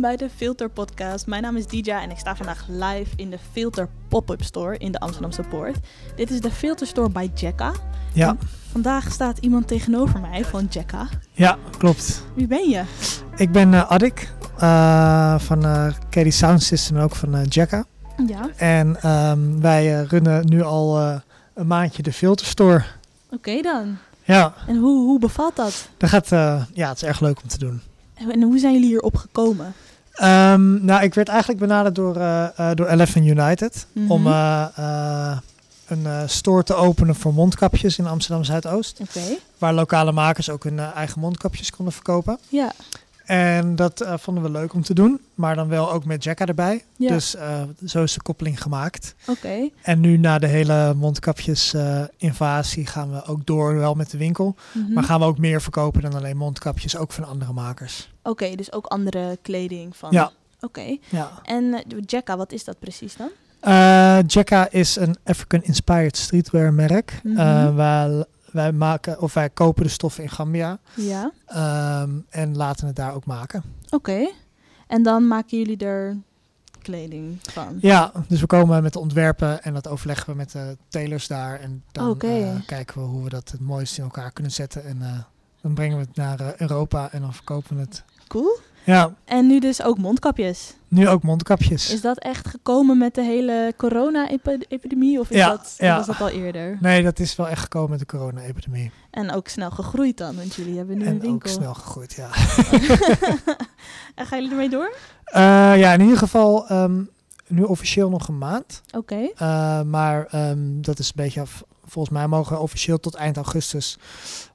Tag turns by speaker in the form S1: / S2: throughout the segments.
S1: bij de Filter Podcast. Mijn naam is Dija en ik sta vandaag live in de Filter Pop-Up Store in de Amsterdamse Poort. Dit is de Filter Store bij Jekka.
S2: Ja,
S1: Vandaag staat iemand tegenover mij van Jekka.
S2: ja klopt.
S1: Wie ben je?
S2: Ik ben eh, Adik eh, van eh Carry Sound System en ook van eh Jacka.
S1: Ja, oké,
S2: En ehm, wij eh, runnen nu al eh, een maandje de filterstore.
S1: dan.
S2: Ja,
S1: En hoe, hoe bevalt dat?
S2: dat gaat, eh, ja, het is erg leuk om te doen.
S1: En hoe zijn jullie hierop gekomen?
S2: Ehm, nou, ik werd eigenlijk benaderd door, eh, eh, door Eleven United
S1: Mhm.
S2: om eh, eh, een eh, store te openen voor mondkapjes in Amsterdam Zuidoost.
S1: Oké,
S2: Waar lokale makers ook hun eh, eigen mondkapjes konden verkopen.
S1: ja.
S2: En dat eh, vonden we leuk om te doen, maar dan wel ook met Jacka erbij.
S1: Ja.
S2: Dus eh, zo is de koppeling gemaakt.
S1: Oké,
S2: En nu na de hele mondkapjes-invasie gaan we ook door, wel met de winkel.
S1: Mhm.
S2: Maar gaan we ook meer verkopen dan alleen mondkapjes, ook van andere makers.
S1: oké, dus ook andere kleding van.
S2: Ja.
S1: Oké,
S2: Ja.
S1: en eh, Jekka, wat is dat precies dan?
S2: Eh, Jacka is een African-inspired streetwear merk.
S1: Mhm.
S2: Eh, wij, wij, maken, of wij kopen de stoffen in Gambia
S1: Ja,
S2: ehm, en laten het daar ook maken.
S1: oké. En dan maken jullie er kleding van.
S2: Ja, dus we komen met de ontwerpen en dat overleggen we met de telers daar. En dan
S1: Oké.
S2: eh, kijken we hoe we dat het mooiste in elkaar kunnen zetten. En eh, dan brengen we het naar eh, Europa en dan verkopen we het.
S1: Cool.
S2: Ja,
S1: En nu dus ook mondkapjes.
S2: nu ook mondkapjes.
S1: Is dat echt gekomen met de hele corona-epidemie? Of is
S2: Ja,
S1: dat,
S2: ja.
S1: was dat al eerder?
S2: Nee, dat is wel echt gekomen met de corona-epidemie.
S1: En ook snel gegroeid dan, want jullie hebben nu een
S2: En ook
S1: winkel.
S2: snel gegroeid, ja.
S1: en gaan jullie ermee door?
S2: Eh, ja, in ieder geval ehm, nu officieel nog een maand.
S1: Oké.
S2: Eh, maar ehm, dat is een beetje af. Volgens mij mogen we officieel tot eind augustus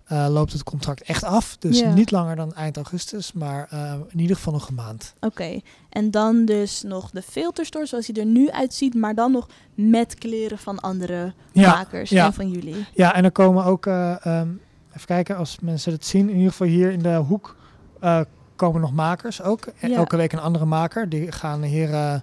S2: eh, loopt het contract echt af. Dus
S1: Ja.
S2: niet langer dan eind augustus, maar eh, in ieder geval nog een maand.
S1: Oké, en dan dus nog de filterstore zoals hij er nu uitziet, maar dan nog met kleren van andere
S2: Ja,
S1: makers
S2: ja.
S1: en van jullie.
S2: ja en er komen ook, eh, ehm, even kijken als mensen het zien, in ieder geval hier in de hoek eh, komen nog makers ook. E-
S1: Ja.
S2: Elke week een andere maker. Die gaan hier eh,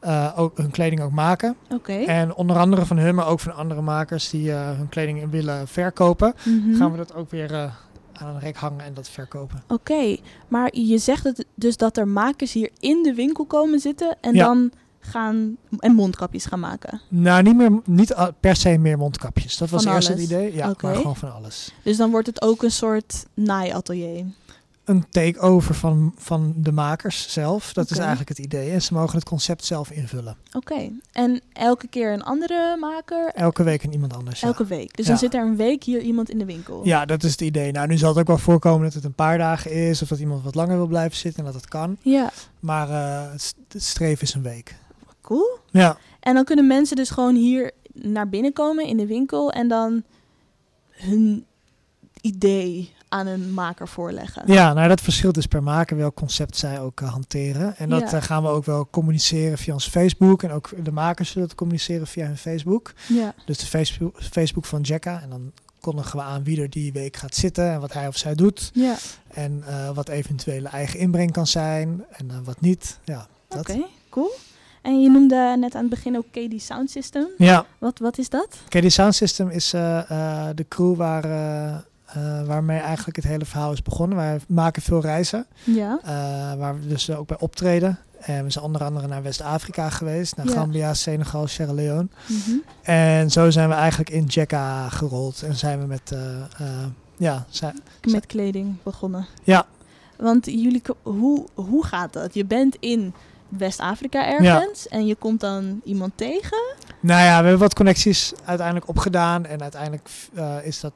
S2: eh, ook hun kleding ook maken.
S1: Oké.
S2: En onder andere van hun, maar ook van andere makers die eh, hun kleding willen verkopen,
S1: Mhm. Oh.
S2: gaan we dat ook weer eh, aan een rek hangen en dat verkopen.
S1: Oké, maar je zegt het dus dat er makers hier in de winkel komen zitten en
S2: Ja.
S1: dan gaan en mondkapjes gaan maken.
S2: Nou, niet, meer, niet a- per se meer mondkapjes. Dat was
S1: Van
S2: eerst
S1: alles?
S2: het idee. Ja,
S1: Oké.
S2: maar gewoon van alles.
S1: Dus dan wordt het ook een soort naaiatelier.
S2: Een takeover van, van de makers zelf. Dat is
S1: Oké.
S2: eigenlijk het idee. En ze mogen het concept zelf invullen.
S1: Oké, en elke keer een andere maker,
S2: Elke week een iemand anders. ja.
S1: elke week. Dus
S2: Ja.
S1: dan zit er een week hier iemand in de winkel.
S2: Ja, dat is het idee. Nou, nu zal het ook wel voorkomen dat het een paar dagen is. Of dat iemand wat langer wil blijven zitten en dat dat kan.
S1: Ja,
S2: Maar eh, het s- het streven is een week.
S1: cool.
S2: Ja,
S1: En dan kunnen mensen dus gewoon hier naar binnen komen in de winkel en dan hun idee aan een maker voorleggen.
S2: ja nou dat verschilt dus per maker welk concept zij ook eh, hanteren. En dat
S1: Ja.
S2: eh, gaan we ook wel communiceren via ons Facebook. En ook de makers zullen het communiceren via hun Facebook.
S1: Ja.
S2: Dus de Facebook, Facebook van Jacka. En dan kondigen we aan wie er die week gaat zitten en wat hij of zij doet.
S1: ja.
S2: En eh, wat eventuele eigen inbreng kan zijn en eh, wat niet. Ja, dat.
S1: Oké, cool. En je noemde net aan het begin ook KD Sound System.
S2: Ja,
S1: Wat, wat is dat?
S2: KD Sound System is eh, eh, de crew waar, eh, eh, waarmee eigenlijk het hele verhaal is begonnen. Wij maken veel reizen,
S1: Ja.
S2: eh, waar we dus ook bij optreden. En we zijn onder andere naar West-Afrika geweest, naar
S1: Ja.
S2: Gambia, Senegal, Sierra Leone.
S1: Mhm.
S2: En zo zijn we eigenlijk in Jacka gerold en zijn we met, eh, eh, ja, zijn,
S1: Met kleding begonnen.
S2: Ja.
S1: Want jullie, ko- hoe, hoe gaat dat? Je bent in West-Afrika ergens en je komt dan iemand tegen.
S2: Nou ja, we hebben wat connecties uiteindelijk opgedaan. En uiteindelijk eh, is, dat,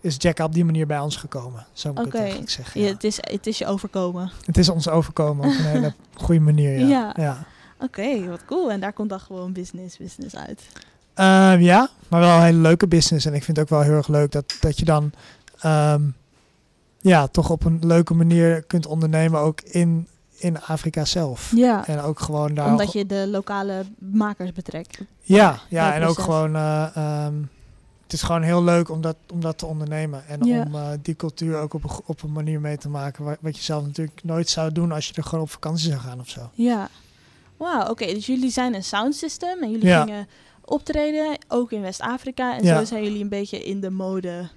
S2: is Jack op die manier bij ons gekomen. Zo moet ik
S1: Oké.
S2: het eigenlijk zeggen.
S1: Je-
S2: ja.
S1: het, is, het is je overkomen.
S2: Het is ons overkomen op een hele goede manier. Ja,
S1: Ja.
S2: ja.
S1: Oké, wat cool. En daar komt dan gewoon business, business uit.
S2: Eh, ja maar wel een hele leuke business. En ik vind het ook wel heel erg leuk dat, dat je dan ehm, ja, toch op een leuke manier kunt ondernemen. Ook in, in Afrika zelf.
S1: Ja.
S2: En ook gewoon daar.
S1: Omdat je de lokale makers betrekt.
S2: Ja,
S1: Ja,
S2: ja en ook
S1: proces.
S2: gewoon. eh, ehm, het is gewoon heel leuk om dat, om dat te ondernemen. En
S1: Ja.
S2: om eh, die cultuur ook op een, go- op een manier mee te maken. wa- Wat je zelf natuurlijk nooit zou doen als je er gewoon op vakantie zou gaan of zo.
S1: Ja. Wauw, oké. dus jullie zijn een sound system en jullie
S2: Ja.
S1: gingen optreden, ook in West-Afrika. En
S2: Ja.
S1: zo zijn jullie een beetje in de mode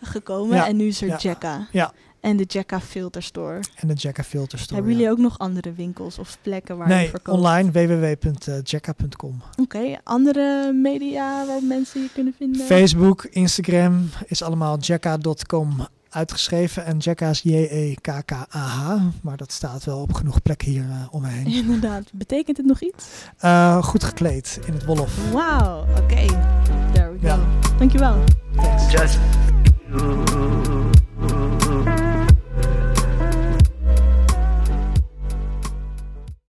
S1: gekomen.
S2: Ja,
S1: En nu is er
S2: ja,
S1: Jekka.
S2: ja.
S1: En de Jekka Filter Store.
S2: En de Jekka Filter Store.
S1: Hebben
S2: ja.
S1: jullie ook nog andere winkels of plekken waar je
S2: nee,
S1: verkoopt?
S2: online www.jekka.com.
S1: Oké, andere media waar mensen je kunnen vinden?
S2: Facebook, Instagram is allemaal jekka.com uitgeschreven. En Jekka is E J-E-K-K-A-H. Maar dat staat wel op genoeg plekken hier eh, om me heen.
S1: Inderdaad. Betekent het nog iets?
S2: Eh, goed gekleed in het Wolf.
S1: Wauw, oké. There we go.
S2: Ja.
S1: Dankjewel.
S2: Thanks.
S3: Just you.